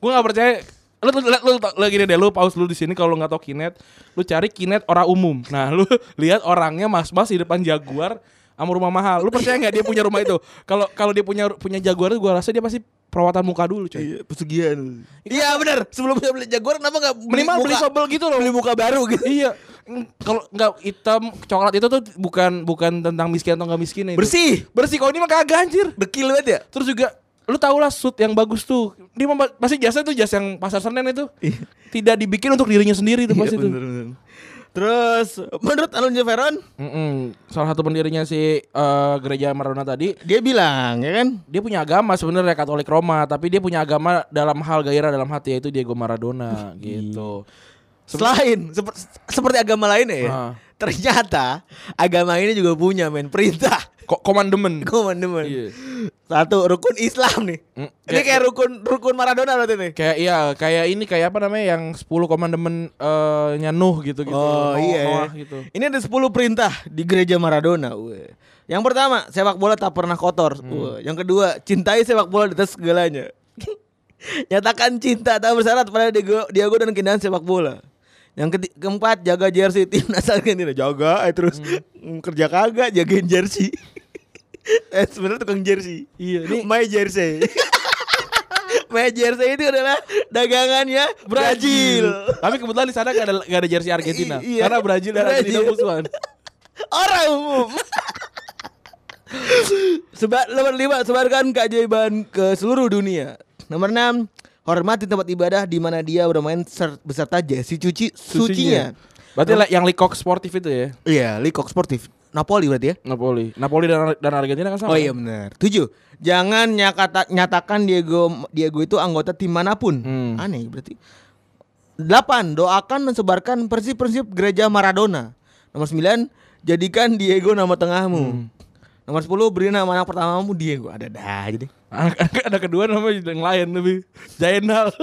Speaker 2: Gue gak percaya. Lu lu, lu, lu- lu gini deh, lu pause lu di sini kalau lu nggak tau kinet, lu cari kinet orang umum. Nah, lu lihat orangnya mas-mas di depan Jaguar sama rumah mahal. Lu percaya nggak dia punya rumah itu? Kalau kalau dia punya punya Jaguar itu gua rasa dia pasti perawatan muka dulu,
Speaker 3: Iya.
Speaker 2: coy.
Speaker 3: pesugihan. Iya benar. Sebelumnya beli Jaguar kenapa enggak
Speaker 2: Minimal beli sobel gitu loh.
Speaker 3: beli muka baru gitu.
Speaker 2: iya. Ng- Kalau nggak hitam coklat itu tuh bukan bukan tentang miskin atau nggak miskin itu.
Speaker 3: Bersih.
Speaker 2: Bersih kalau ini mah kagak anjir.
Speaker 3: Dekil banget ya?
Speaker 2: Terus juga lu tau lah suit yang bagus tuh. Dia mah pasti jasa tuh jas yang pasar Senen itu.
Speaker 3: Iya.
Speaker 2: Tidak dibikin untuk dirinya sendiri tuh pasti tuh.
Speaker 3: Terus menurut Alonso Veron
Speaker 2: Mm-mm. Salah satu pendirinya si eh, gereja Maradona tadi
Speaker 3: dia bilang ya kan
Speaker 2: dia punya agama sebenarnya Katolik Roma, tapi dia punya agama dalam hal gairah dalam hati yaitu Diego Maradona gitu.
Speaker 3: selain sep- seperti agama lainnya ya.
Speaker 2: Ah.
Speaker 3: Ternyata agama ini juga punya men perintah
Speaker 2: Kok komandemen.
Speaker 3: komandemen.
Speaker 2: Iya.
Speaker 3: Satu rukun Islam nih.
Speaker 2: Hmm,
Speaker 3: Ini
Speaker 2: kayak-
Speaker 3: kayak rukun rukun Maradona berarti nih.
Speaker 2: Kayak iya, kayak ini kayak apa namanya yang 10 komandemen eh nyanuh gitu-gitu.
Speaker 3: Oh
Speaker 2: Noah-
Speaker 3: iya.
Speaker 2: Noah gitu.
Speaker 3: Ini ada 10 perintah di gereja Maradona. Weh. Yang pertama, sepak bola tak pernah kotor.
Speaker 2: Hmm.
Speaker 3: Weh. Yang kedua, cintai sepak bola di atas segalanya. Nyatakan cinta tak bersyarat pada Diego, Diego dan keindahan sepak bola. Yang keti- keempat, jaga jersey timnas Argentina. Jaga eh, terus
Speaker 2: Hmm.
Speaker 3: Mm, kerja kagak jagain jersey. eh sebenarnya tukang jersey.
Speaker 2: Iya, ini-
Speaker 3: my jersey. my jersey itu adalah dagangannya Brazil.
Speaker 2: Tapi kebetulan di sana gak ada gak ada jersey Argentina.
Speaker 3: I- iya.
Speaker 2: Karena Brazil dan Argentina
Speaker 3: Brazil.
Speaker 2: musuhan.
Speaker 3: orang umum. Sebar nomor lima sebarkan keajaiban ke seluruh dunia. Nomor enam hormati tempat ibadah di mana dia bermain ser- beserta jersey cuci sucinya.
Speaker 2: Berarti lah yang Leacock sportif itu ya.
Speaker 3: Iya, Likok Sportif. Napoli berarti ya?
Speaker 2: Napoli. Napoli dan dan Argentina kan sama.
Speaker 3: Oh iya benar. Tujuh. Jangan nyakata, nyatakan Diego Diego itu anggota tim manapun.
Speaker 2: Hmm.
Speaker 3: Aneh berarti. Delapan. Doakan dan sebarkan prinsip-prinsip gereja Maradona. Nomor sembilan. Jadikan Diego nama tengahmu. Nomor sepuluh. Beri nama anak pertamamu Diego. Ada dah aja deh.
Speaker 2: ada kedua namanya yang lain lebih Jainal.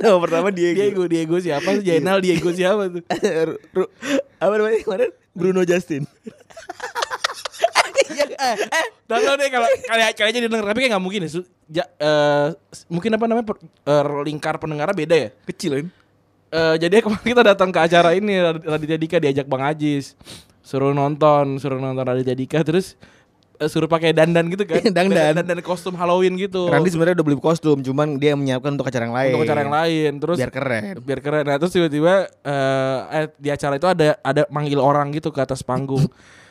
Speaker 3: Nama pertama Diego. Iya.
Speaker 2: Diego, Diego siapa? Jainal Diego siapa tuh?
Speaker 3: Ru- Ru- apa namanya kemarin? Bruno Justin.
Speaker 2: Dan lo deh kalau ya, kali kali aja didengar tapi kayak nggak mungkin ya. Su- ja- eh, s- mungkin apa namanya per- eh, lingkar pendengarnya beda ya.
Speaker 3: Kecil kan?
Speaker 2: Eh, jadi kemarin kita datang ke acara ini Rad- Raditya Dika diajak Bang Ajis suruh nonton suruh nonton Raditya Dika terus eh, suruh pakai dandan gitu kan
Speaker 3: Dandan.
Speaker 2: dandan kostum Halloween gitu
Speaker 3: Randy sebenarnya udah beli kostum, cuman dia menyiapkan Oh. untuk acara yang lain.
Speaker 2: untuk acara yang lain terus
Speaker 3: Biar keren.
Speaker 2: biar keren nah terus tiba-tiba eh, eh, di acara itu ada ada manggil orang gitu ke atas panggung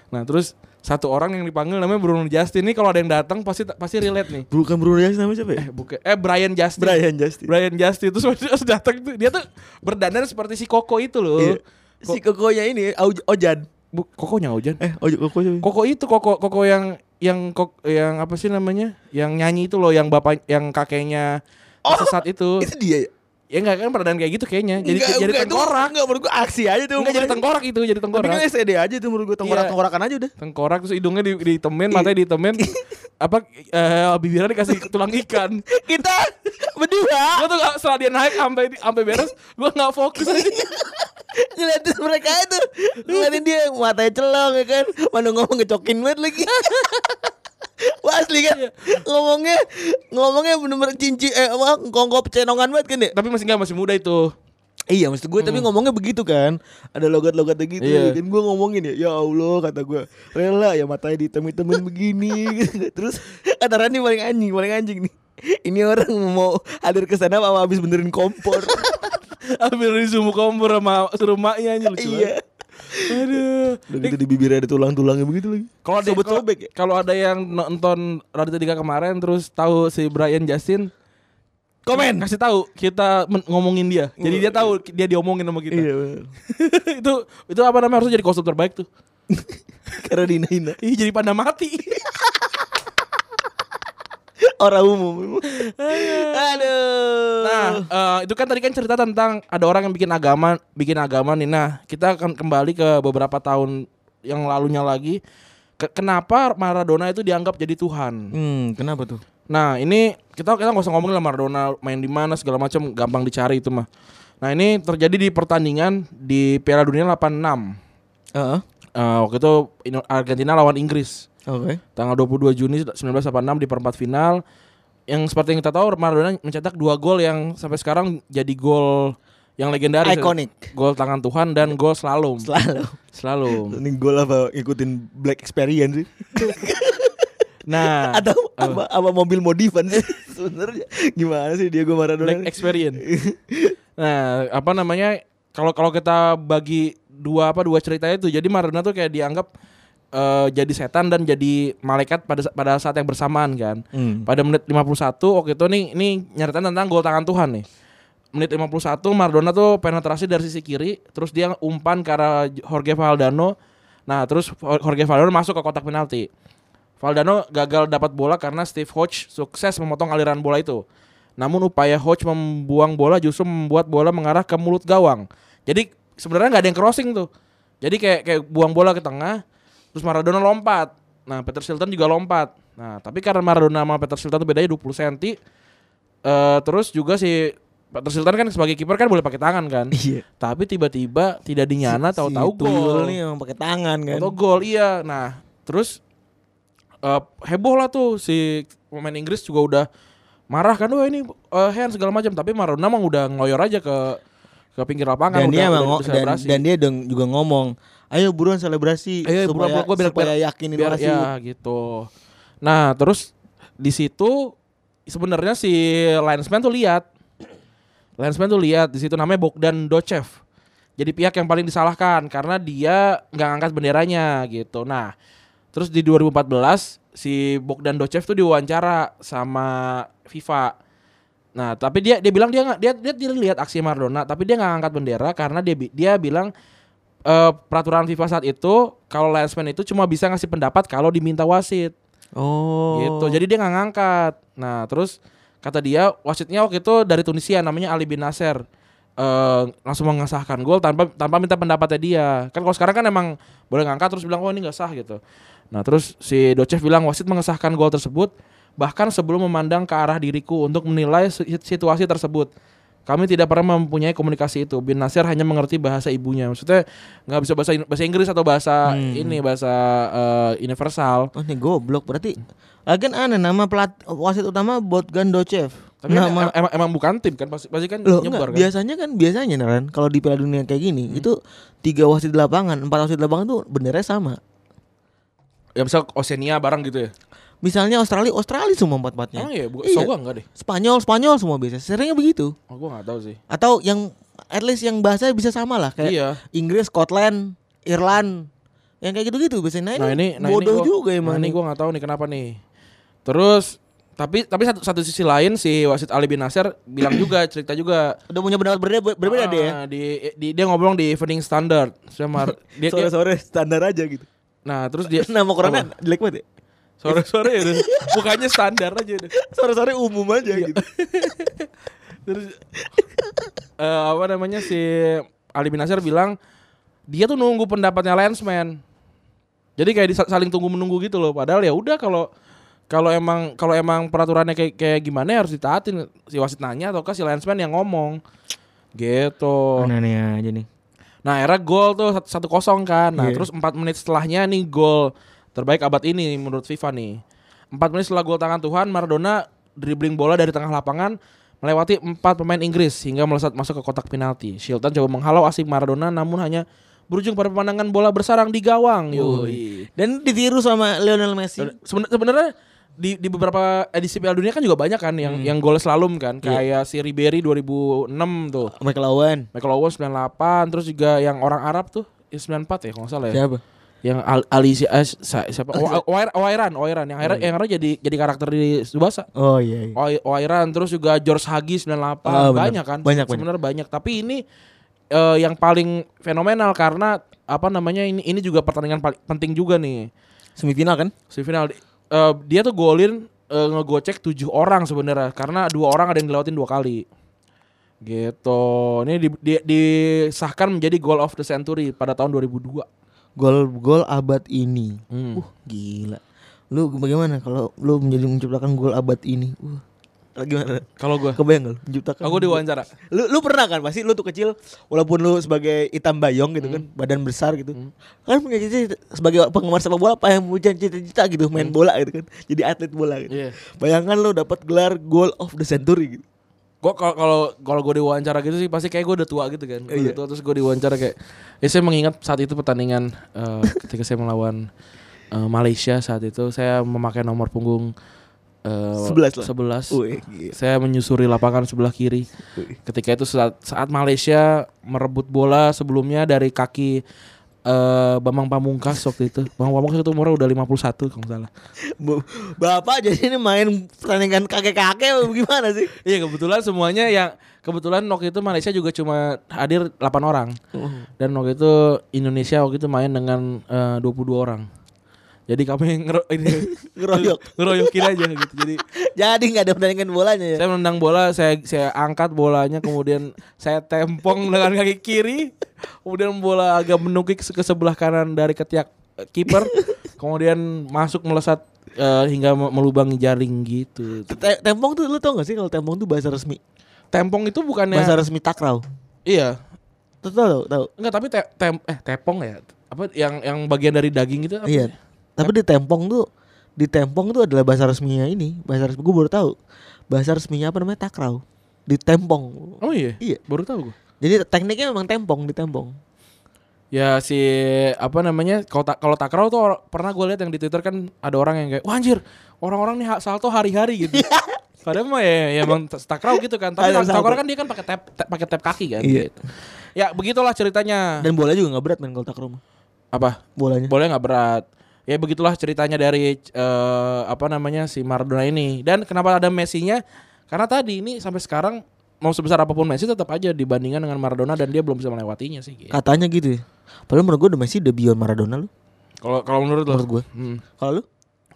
Speaker 2: nah terus satu orang yang dipanggil namanya Bruno Justin ini kalau ada yang datang pasti pasti relate nih
Speaker 3: Bukan Bruno Justin namanya siapa ya?
Speaker 2: Eh, bukan eh Brian Justin
Speaker 3: Brian Justin.
Speaker 2: Brian Justin terus terus datang tuh dia tuh berdandan seperti si Koko itu loh
Speaker 3: Iya. Si kokonya ini Au- Ojan.
Speaker 2: Bu, kokonya hujan.
Speaker 3: Eh, Ojan koko siapa?
Speaker 2: Koko itu koko koko yang yang kok yang
Speaker 3: Oh.
Speaker 2: apa sih namanya? Yang nyanyi itu loh yang bapak yang kakeknya sesat itu.
Speaker 3: Itu dia ya?
Speaker 2: Ya enggak kan peradaan kayak gitu kayaknya. Jadi
Speaker 3: Enggak,
Speaker 2: jadi
Speaker 3: enggak, itu-
Speaker 2: tengkorak.
Speaker 3: Enggak menurut gua aksi aja
Speaker 2: Enggak
Speaker 3: tuh.
Speaker 2: jadi
Speaker 3: pokoknya.
Speaker 2: tengkorak Iya. itu, jadi
Speaker 3: Tapi
Speaker 2: tengkorak.
Speaker 3: kan SED aja tuh menurut gua tengkorak-tengkorakan aja udah.
Speaker 2: Tengkorak terus hidungnya di,
Speaker 3: Iya.
Speaker 2: ditemen, matanya ditemen. apa eh bibirnya dikasih tulang ikan.
Speaker 3: Kita berdua
Speaker 2: Gua tuh nggak- setelah dia naik sampai sampai beres, gua nggak fokus aja.
Speaker 3: ngeliatin mereka itu. Ngeliatin dia matanya celong ya kan. Mana ngomong ngecokin banget lagi. Wah asli kan
Speaker 2: Iya.
Speaker 3: ngomongnya ngomongnya bener-bener cinci eh apa kongkop cenongan banget kan ya?
Speaker 2: Tapi masih nggak masih muda itu.
Speaker 3: Iya maksud gue tapi ngomongnya begitu kan Ada logat-logatnya gitu
Speaker 2: Iya.
Speaker 3: Dan gue ngomongin ya Ya Allah kata gue Rela ya matanya ditemen-temen begini gitu. Terus kata Rani paling anjing Paling anjing nih Ini orang mau hadir ke sana apa habis benerin kompor
Speaker 2: Ambil resume kompor sama suruh maknya aja lucu. banget.
Speaker 3: Iya
Speaker 2: Aduh.
Speaker 3: Udah gitu di bibirnya ada tulang-tulangnya begitu lagi
Speaker 2: Kalau ada
Speaker 3: Sobet
Speaker 2: kalau-
Speaker 3: sobek ya?
Speaker 2: kalau ada yang nonton Radio 3 kemarin terus tahu si Brian Justin
Speaker 3: Komen.
Speaker 2: kasih tahu kita men- ngomongin dia. Jadi dia tahu dia diomongin sama kita.
Speaker 3: Iya bener.
Speaker 2: itu itu apa namanya harusnya jadi kostum terbaik tuh.
Speaker 3: Karena dihina-hina
Speaker 2: Ih jadi panda mati.
Speaker 3: Orang umum Aduh
Speaker 2: Nah, eh, itu kan tadi kan cerita tentang ada orang yang bikin agama, bikin agama nih. Nah, kita akan kembali ke beberapa tahun yang lalunya lagi. Ke- kenapa Maradona itu dianggap jadi Tuhan?
Speaker 3: Hmm kenapa tuh?
Speaker 2: Nah ini kita kita nggak usah ngomongin lah Maradona main di mana segala macam gampang dicari itu mah. Nah ini terjadi di pertandingan di Piala Dunia 86.
Speaker 3: Heeh.
Speaker 2: Eh, waktu itu Ino- Argentina lawan Inggris
Speaker 3: Oke
Speaker 2: tanggal 22 Juni 1986 di perempat final. Yang seperti yang kita tahu Maradona mencetak dua gol yang sampai sekarang jadi gol yang legendaris.
Speaker 3: Iconic.
Speaker 2: Gol tangan Tuhan dan gol slalom.
Speaker 3: Selalu
Speaker 2: Slalom.
Speaker 3: Ini gue lah apa ngikutin Black Experience sih
Speaker 2: Nah,
Speaker 3: atau apa, apa mobil modifan sih sebenarnya gimana sih Diego Maradona
Speaker 2: Black experience. nah, apa namanya? Kalau kalau kita bagi dua apa dua ceritanya itu, jadi Maradona tuh kayak dianggap eh, jadi setan dan jadi malaikat pada sa- pada saat yang bersamaan kan.
Speaker 3: Hmm.
Speaker 2: Pada menit 51 waktu itu nih ini nyeritain tentang gol tangan Tuhan nih. Menit 51 Maradona tuh penetrasi dari sisi kiri, terus dia umpan ke arah Jorge Valdano. Nah, terus Jorge Valdano masuk ke kotak penalti. Valdano gagal dapat bola karena Steve Hodge sukses memotong aliran bola itu. Namun upaya Hodge membuang bola justru membuat bola mengarah ke mulut gawang. Jadi sebenarnya nggak ada yang crossing tuh. Jadi kayak kayak buang bola ke tengah, terus Maradona lompat. Nah, Peter Shilton juga lompat. Nah, tapi karena Maradona sama Peter Shilton tuh bedanya 20 cm. eh terus juga si Peter Shilton kan sebagai kiper kan boleh pakai tangan kan.
Speaker 3: Iya.
Speaker 2: Tapi tiba-tiba tidak dinyana tahu-tahu gol.
Speaker 3: Ah, nih emang pakai tangan kan
Speaker 2: Atau gol iya. Nah, terus eh, heboh lah tuh si pemain Inggris juga udah marah kan wah ini eh, hand segala macam tapi Maradona emang udah ngoyor aja ke ke pinggir lapangan
Speaker 3: dan
Speaker 2: udah,
Speaker 3: dia
Speaker 2: udah
Speaker 3: emang ngo- dan,
Speaker 2: diselebrasi.
Speaker 3: dan dia dong- juga ngomong ayo buruan selebrasi
Speaker 2: Ayo,
Speaker 3: supaya
Speaker 2: buruan, buruan, Iya, gua biar-
Speaker 3: supaya
Speaker 2: biar-
Speaker 3: yakinin
Speaker 2: biar
Speaker 3: wasit
Speaker 2: ya gitu. Nah, terus di situ sebenarnya si linesman tuh lihat linesman tuh lihat di situ namanya Bogdan Docev. Jadi pihak yang paling disalahkan karena dia nggak ngangkat benderanya gitu. Nah, terus di 2014 si Bogdan Docev tuh diwawancara sama FIFA. Nah, tapi dia dia bilang dia nggak dia dia, dia lihat aksi Maradona, tapi dia nggak ngangkat bendera karena dia bi- dia bilang eh, peraturan FIFA saat itu kalau linesman itu cuma bisa ngasih pendapat kalau diminta wasit
Speaker 3: oh
Speaker 2: gitu. Jadi dia nggak ngangkat. Nah, terus kata dia wasitnya waktu itu dari Tunisia namanya Ali bin Nasser. Eh, langsung mengesahkan gol tanpa tanpa minta pendapatnya dia. Kan kalau sekarang kan emang boleh ngangkat terus bilang oh ini nggak sah gitu. Nah, terus si Docev bilang wasit mengesahkan gol tersebut bahkan sebelum memandang ke arah diriku untuk menilai si- situasi tersebut. Kami tidak pernah mempunyai komunikasi itu. Bin Nasir hanya mengerti bahasa ibunya. Maksudnya nggak bisa bahasa bahasa Inggris atau bahasa ini bahasa eh, universal.
Speaker 3: oh ini goblok berarti Lagian aneh nama pelat wasit utama Botgan Docev
Speaker 2: Tapi kan
Speaker 3: nama
Speaker 2: em- emang, emang bukan tim kan pasti pasti kan
Speaker 3: Nah, Loh,
Speaker 2: nyebar kan.
Speaker 3: enggak,
Speaker 2: Hmm.
Speaker 3: biasanya kan biasanya Naran kalau di Piala Dunia kayak gini itu tiga wasit di lapangan, empat wasit di lapangan tuh benderanya sama.
Speaker 2: Ya misal Oceania barang gitu ya.
Speaker 3: Misalnya Australia, Australia semua empat-empatnya.
Speaker 2: Emang ya bukan
Speaker 3: Iya.
Speaker 2: so gua enggak deh.
Speaker 3: Spanyol, Spanyol semua biasa. Seringnya begitu.
Speaker 2: Oh, gua enggak tahu sih.
Speaker 3: Atau yang at least yang bahasa bisa sama lah kayak
Speaker 2: Iya.
Speaker 3: Inggris, Scotland, Irland. Yang kayak gitu-gitu biasanya.
Speaker 2: Nah ini nah ini
Speaker 3: bodoh
Speaker 2: gua,
Speaker 3: juga
Speaker 2: nah
Speaker 3: emang.
Speaker 2: ini gua enggak tahu nih kenapa nih. Terus tapi tapi satu satu sisi lain si wasit Ali bin Nasir bilang juga cerita juga
Speaker 3: Udah punya pendapat berbeda, berbeda deh ya.
Speaker 2: Ah, di, di- dia ngobrol di evening standard sama dia, dia-
Speaker 3: Sore-sore standar aja gitu.
Speaker 2: nah terus dia
Speaker 3: Nama korannya jelek banget ya.
Speaker 2: sore sore ya udah. mukanya standar aja udah.
Speaker 3: Iya. Sore-sore umum aja gitu.
Speaker 2: terus eh, apa namanya si Ali bin Nasir bilang dia tuh nunggu pendapatnya Lensman. Jadi kayak disa- saling tunggu menunggu gitu loh. Padahal ya udah kalau kalau emang kalau emang peraturannya kayak kayak gimana ya harus ditaatin si wasit nanya ataukah si Lensman yang ngomong. Gitu.
Speaker 3: Aneh aja nih.
Speaker 2: Nah era gol tuh sat- 1-0 kan Nah
Speaker 3: Iya.
Speaker 2: terus 4 menit setelahnya nih gol Terbaik abad ini menurut FIFA nih 4 menit setelah gol tangan Tuhan Maradona dribbling bola dari tengah lapangan Melewati 4 pemain Inggris Hingga melesat masuk ke kotak penalti Shilton coba menghalau asing Maradona Namun hanya berujung pada pemandangan bola bersarang di gawang Yoi.
Speaker 3: Dan ditiru sama Lionel Messi.
Speaker 2: Seben- Sebenarnya di, di beberapa edisi Piala Dunia kan juga banyak kan yang yang golnya slalom kan kayak si Ribery 2006 tuh
Speaker 3: Michael Owen.
Speaker 2: Michael Owen 98 terus juga yang orang Arab tuh ya 94 ya kalau nggak salah ya.
Speaker 3: Siapa?
Speaker 2: Yang Al Ali si- eh, si- siapa? O- Oir- Oiran, Oiran yang
Speaker 3: iya.
Speaker 2: akhirnya yang akhirnya jadi jadi karakter di Subasa.
Speaker 3: Oh iya. iya.
Speaker 2: Oi- Oiran terus juga George Hagi 98
Speaker 3: Ah, bener.
Speaker 2: banyak kan?
Speaker 3: Banyak, banyak.
Speaker 2: Sebenarnya banyak, tapi ini eh, yang paling fenomenal karena apa namanya ini ini juga pertandingan paling penting juga nih
Speaker 3: Semifinal kan?
Speaker 2: semifinal Di- eh, dia tuh golin eh, ngegocek tujuh orang sebenarnya karena dua orang ada yang dilewatin dua kali gitu ini di, di- disahkan menjadi goal of the century pada tahun 2002
Speaker 3: Gol-gol abad ini.
Speaker 2: Hmm.
Speaker 3: Uh, gila. Lu bagaimana kalau lu menjadi menciptakan gol abad ini? Uh. Gimana?
Speaker 2: kalau gue
Speaker 3: Kebayang gak lu menciptakan?
Speaker 2: aku
Speaker 3: gol-
Speaker 2: diwawancara
Speaker 3: Lu, lu pernah kan pasti lu tuh kecil walaupun lu sebagai hitam bayong gitu
Speaker 2: Hmm.
Speaker 3: kan, badan besar gitu. Kan punya cita-cita sebagai penggemar sepak bola apa yang punya cita-cita gitu main bola gitu kan. Jadi atlet bola gitu.
Speaker 2: Hmm. Iya.
Speaker 3: Bayangkan lu dapat gelar goal of the century gitu.
Speaker 2: Gua kalau kalau kalau gue diwawancara gitu sih pasti kayak gue udah tua gitu kan. Gua udah
Speaker 3: Iya.
Speaker 2: tua terus gue diwawancara kayak ya saya mengingat saat itu pertandingan eh, ketika saya melawan eh, Malaysia saat itu saya memakai nomor punggung eh,
Speaker 3: 11 lah.
Speaker 2: 11.
Speaker 3: Wih, gila.
Speaker 2: Saya menyusuri lapangan sebelah kiri. Ketika itu saat, saat Malaysia merebut bola sebelumnya dari kaki eh, Bambang Pamungkas waktu itu. Bambang Pamungkas itu umurnya udah 51 kalau nggak salah.
Speaker 3: Bu- Bapak jadi ini main pertandingan kakek-kakek apa gimana sih?
Speaker 2: Iya kebetulan semuanya yang kebetulan waktu itu Malaysia juga cuma hadir 8 orang. Dan waktu itu Indonesia waktu itu main dengan eh, 22 orang. Jadi kami ngero ini
Speaker 3: Ngeroyok.
Speaker 2: ngeroyokin aja gitu. Jadi
Speaker 3: Jadi nggak ada pertandingan bolanya ya.
Speaker 2: saya menendang bola, saya saya angkat bolanya kemudian saya tempong dengan kaki kiri. Kemudian bola agak menukik ke sebelah kanan dari ketiak eh, kiper. Kemudian masuk melesat eh, hingga me- melubangi jaring gitu.
Speaker 3: Te- Tempong tuh lu tau gak sih kalau tempong tuh bahasa resmi?
Speaker 2: Tempong itu bukannya
Speaker 3: Bahasa resmi takraw.
Speaker 2: Iya,
Speaker 3: Tuh tau tau tau.
Speaker 2: Enggak, tapi te- tem- eh tepong ya. Apa yang yang bagian dari daging gitu apa?
Speaker 3: Iya. Tapi di tempong tuh di tempong tuh adalah bahasa resminya ini, bahasa resmi gue baru tahu. Bahasa resminya apa namanya takraw. Di tempong.
Speaker 2: Oh iya.
Speaker 3: Iya.
Speaker 2: Baru tahu gua.
Speaker 3: Jadi tekniknya memang tempong di tempong.
Speaker 2: Ya si apa namanya? Kalau ta- kalau takraw tuh or- pernah gue lihat yang di Twitter kan ada orang yang kayak, "Wah anjir, orang-orang nih ha- salto hari-hari gitu." Padahal mah ya, ya emang t- takraw gitu kan. Tapi
Speaker 3: Iya. Ada
Speaker 2: kalau takraw
Speaker 3: salto.
Speaker 2: kan dia kan pakai tap tap- pakai tap kaki kan.
Speaker 3: Iya.
Speaker 2: gitu. Ya begitulah ceritanya.
Speaker 3: Dan bola juga nggak berat main kalau takraw mah.
Speaker 2: apa?
Speaker 3: Bolanya.
Speaker 2: Boleh nggak berat? Ya begitulah ceritanya dari eh, apa namanya si Maradona ini. Dan kenapa ada Messi-nya? Karena tadi ini sampai sekarang mau sebesar apapun Messi tetap aja dibandingkan dengan Maradona dan dia belum bisa melewatinya sih. gitu.
Speaker 3: Katanya gitu ya. Padahal menurut gue udah Messi udah beyond Maradona lu.
Speaker 2: Kalau kalau menurut lo?
Speaker 3: Menurut gue.
Speaker 2: Hmm.
Speaker 3: Kalau lu?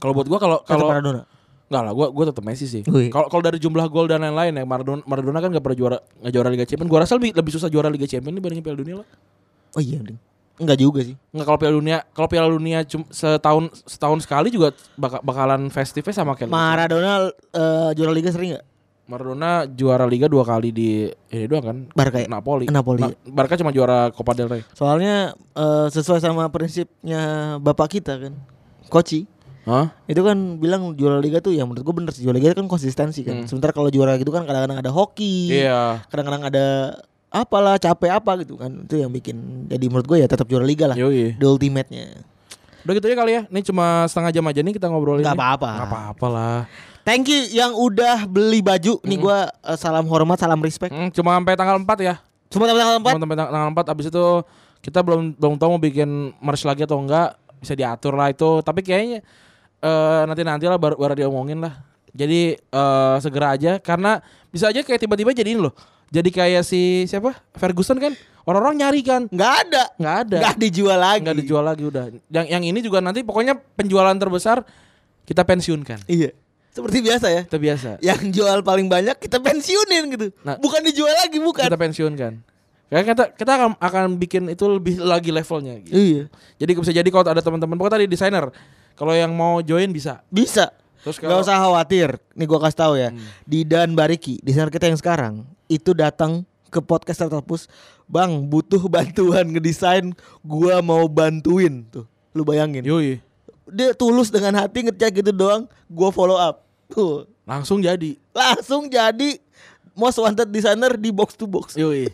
Speaker 2: Kalau buat gua kalau
Speaker 3: Kalau
Speaker 2: kalau
Speaker 3: Maradona.
Speaker 2: nggak lah, gua gua tetap Messi sih.
Speaker 3: Wih.
Speaker 2: Kalau kalau dari jumlah gol dan lain-lain ya Maradona Maradona kan nggak pernah juara nggak juara Liga Champions. Gua rasa lebih, lebih susah juara Liga Champions dibandingin Piala Dunia lah.
Speaker 3: Oh iya, ding. Enggak juga sih.
Speaker 2: Nggak kalau Piala Dunia kalau Piala Dunia cum- setahun setahun sekali juga baka- bakalan festifnya sama kayak Liga
Speaker 3: Maradona eh, juara liga sering nggak?
Speaker 2: Maradona juara Liga dua kali di ini doang kan?
Speaker 3: Barca ya?
Speaker 2: Napoli. Nah,
Speaker 3: Napoli.
Speaker 2: Barca cuma juara Copa del Rey.
Speaker 3: Soalnya eh, sesuai sama prinsipnya bapak kita kan, Koci.
Speaker 2: Hah?
Speaker 3: Itu kan bilang juara liga tuh ya menurut gue bener sih juara liga kan konsistensi kan. Sementara kalau juara gitu kan kadang-kadang ada
Speaker 2: Hmm.
Speaker 3: hoki.
Speaker 2: Iya.
Speaker 3: Kadang-kadang ada apalah capek apa gitu kan. Itu yang bikin jadi menurut gue ya tetap juara liga lah.
Speaker 2: Yoi.
Speaker 3: The ultimate-nya.
Speaker 2: Udah gitu aja kali ya. Ini cuma setengah jam aja nih kita ngobrolin.
Speaker 3: Nggak
Speaker 2: ini.
Speaker 3: apa-apa.
Speaker 2: Nggak apa-apa lah.
Speaker 3: Thank you yang udah beli baju. Nih gue eh, salam hormat, salam respect.
Speaker 2: Hmm, cuma sampai tanggal 4 ya.
Speaker 3: Semua teman-teman
Speaker 2: Cuma sampai tang- tanggal 4 abis itu kita belum belum tahu mau bikin merch lagi atau enggak. Bisa diatur lah itu. Tapi kayaknya nanti nanti lah baru baru diomongin lah. Jadi eh, segera aja karena bisa aja kayak tiba-tiba jadi ini loh. Jadi kayak si siapa? Ferguson kan orang-orang nyari kan.
Speaker 3: Nggak ada.
Speaker 2: Nggak ada.
Speaker 3: Nggak dijual lagi.
Speaker 2: nggak dijual lagi udah. Yang yang ini juga nanti pokoknya penjualan terbesar kita pensiunkan.
Speaker 3: Iya. seperti biasa ya.
Speaker 2: Kita biasa.
Speaker 3: Yang jual paling banyak kita pensiunin gitu.
Speaker 2: Nah.
Speaker 3: bukan dijual lagi bukan.
Speaker 2: Kita pensiunkan. Karena kita kita akan akan bikin itu lebih lagi levelnya gitu.
Speaker 3: Iya.
Speaker 2: Jadi bisa jadi kalau ada teman-teman pokoknya tadi desainer kalau yang mau join bisa.
Speaker 3: Bisa.
Speaker 2: Terus
Speaker 3: Gak
Speaker 2: kalau Hmm.
Speaker 3: usah khawatir. Nih gua kasih tahu ya. Di Dan Bariki, desainer kita yang sekarang itu datang ke podcast Startupus, "Bang, butuh bantuan ngedesain, gua mau bantuin." Tuh. Lu bayangin.
Speaker 2: Yoi,
Speaker 3: Dia tulus dengan hati ngecek gitu doang, gua follow up. Tuh.
Speaker 2: langsung jadi.
Speaker 3: Langsung jadi most wanted designer di box to box.
Speaker 2: Yoi.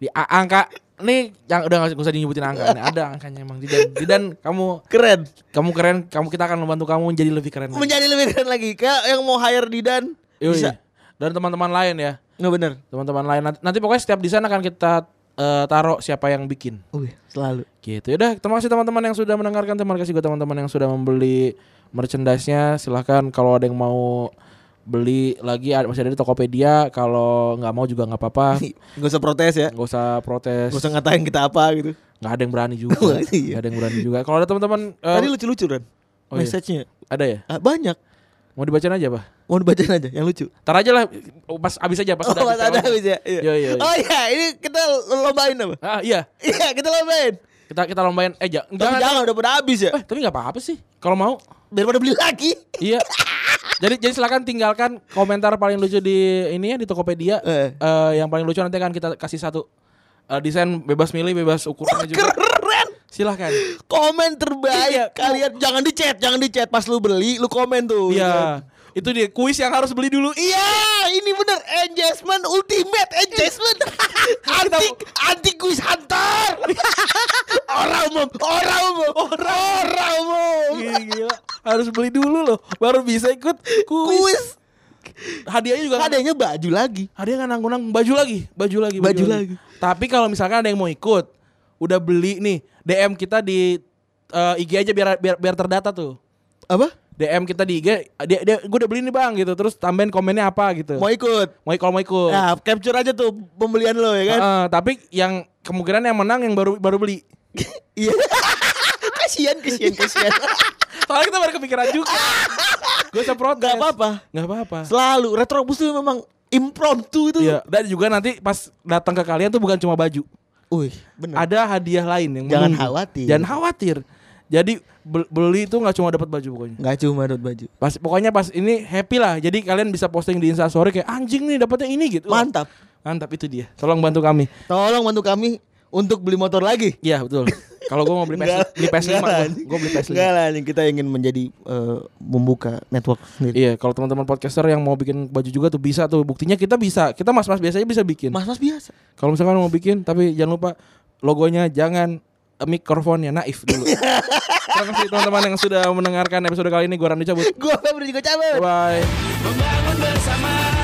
Speaker 2: Di a- angka nih yang udah nggak usah nyebutin angka. Nih, ada angkanya emang Zidan. Zidan kamu
Speaker 3: Keren.
Speaker 2: kamu keren, kamu kita akan membantu kamu menjadi lebih keren. lagi.
Speaker 3: Menjadi lebih keren lagi. Kayak yang mau hire di Dan
Speaker 2: Yoi.
Speaker 3: bisa.
Speaker 2: Dan teman-teman lain ya.
Speaker 3: Nggak bener.
Speaker 2: Teman-teman lain nanti, nanti pokoknya setiap desain akan kita eh, taruh siapa yang bikin.
Speaker 3: Wih, selalu.
Speaker 2: Gitu. Udah, terima kasih teman-teman yang sudah mendengarkan. Terima kasih juga teman-teman yang sudah membeli merchandise-nya. Silahkan kalau ada yang mau beli lagi ada- masih ada di Tokopedia. Kalau nggak mau juga nggak apa-apa.
Speaker 3: Gak usah protes ya.
Speaker 2: Nggak usah protes.
Speaker 3: Gak usah ngatain kita apa gitu.
Speaker 2: Nggak ada yang berani juga.
Speaker 3: Nggak ada, iya.
Speaker 2: Nggak ada yang berani juga. Kalau ada teman-teman eh,
Speaker 3: Tadi lucu-lucu kan
Speaker 2: Oh, iya.
Speaker 3: Message-nya
Speaker 2: ada ya?
Speaker 3: Ah, Banyak
Speaker 2: Mau dibacain aja, Pak.
Speaker 3: Mau dibacain aja yang lucu
Speaker 2: Ntar aja lah pas abis aja pas
Speaker 3: Oh
Speaker 2: udah
Speaker 3: mas
Speaker 2: abis
Speaker 3: ada
Speaker 2: telepon.
Speaker 3: habis ya iya.
Speaker 2: Iya, iya, iya.
Speaker 3: Oh iya ini kita lombain apa
Speaker 2: Ah, iya.
Speaker 3: Iya kita lombain
Speaker 2: Kita kita lombain eh ja-
Speaker 3: Tapi
Speaker 2: jangan.
Speaker 3: jangan udah pada habis ya
Speaker 2: Eh, tapi nggak apa-apa sih kalau mau.
Speaker 3: Biar pada beli lagi
Speaker 2: Iya. jadi jadi silakan tinggalkan komentar paling lucu di ini ya di Tokopedia.
Speaker 3: Eh.
Speaker 2: Eh, yang paling lucu nanti akan kita kasih satu Eh, desain bebas milih, bebas ukurannya juga.
Speaker 3: Keren
Speaker 2: Silahkan.
Speaker 3: Komen terbaik
Speaker 2: Iya.
Speaker 3: Kalian jangan di chat Jangan di chat Pas lu beli Lu komen tuh
Speaker 2: Iya. Itu dia kuis yang harus beli dulu. Ih,
Speaker 3: Iya ini bener Engagement ultimate Engagement Anti Anti kuis hunter Orang umum Orang umum Orang umum
Speaker 2: Gila. Harus beli dulu loh, baru bisa ikut kuis.
Speaker 3: Kuis
Speaker 2: Hadiahnya juga nggak-
Speaker 3: Adanya baju lagi
Speaker 2: Hadiah nggak nanggung-nanggung baju lagi, baju lagi,
Speaker 3: Baju
Speaker 2: Tapi kalau misalkan ada yang mau ikut, udah beli nih, DM kita di eh, IG aja biar biar biar terdata tuh.
Speaker 3: Apa?
Speaker 2: DM kita di IG, dia, dia gue udah beli nih bang gitu, terus tambahin komennya apa gitu.
Speaker 3: Mau ikut?
Speaker 2: Mau ikut, kalau mau ikut.
Speaker 3: Nah, capture aja tuh pembelian lo ya kan?
Speaker 2: Heeh, tapi yang kemungkinan yang menang yang baru baru beli.
Speaker 3: Iya. kasihan, kasihan, kasihan.
Speaker 2: Soalnya kita baru kepikiran juga. gue semprot
Speaker 3: Gak apa-apa.
Speaker 2: Gak apa-apa.
Speaker 3: Selalu retrobus tuh memang impromptu itu.
Speaker 2: Iya. Dan juga nanti pas datang ke kalian tuh bukan cuma baju.
Speaker 3: Wih, benar.
Speaker 2: ada hadiah lain yang
Speaker 3: Iya. Jangan
Speaker 2: menunggu.
Speaker 3: khawatir.
Speaker 2: Jangan khawatir. Jadi bel- beli itu nggak cuma dapat baju pokoknya.
Speaker 3: Gak cuma dot baju.
Speaker 2: Pas pokoknya pas ini happy lah. Jadi kalian bisa posting di Insta story kayak anjing nih dapatnya ini gitu.
Speaker 3: Mantap.
Speaker 2: Mantap itu dia. Tolong bantu kami.
Speaker 3: Tolong bantu kami untuk beli motor lagi.
Speaker 2: Iya, betul. Kalau gua mau beli PS beli PS5
Speaker 3: enggak lah.
Speaker 2: gua, gua beli PS5.
Speaker 3: Enggak lah, ini kita ingin menjadi eh, membuka network sendiri.
Speaker 2: Iya, kalau teman-teman podcaster yang mau bikin baju juga tuh bisa tuh. Buktinya kita bisa. Kita mas-mas biasanya bisa bikin.
Speaker 3: Mas-mas biasa.
Speaker 2: Kalau misalkan mau bikin tapi jangan lupa logonya jangan eh, mikrofonnya naif dulu. Terima kasih teman-teman yang sudah mendengarkan episode kali ini. Gua Randy cabut.
Speaker 3: Gua Febri juga cabut.
Speaker 2: Bye.
Speaker 4: Membangun bersama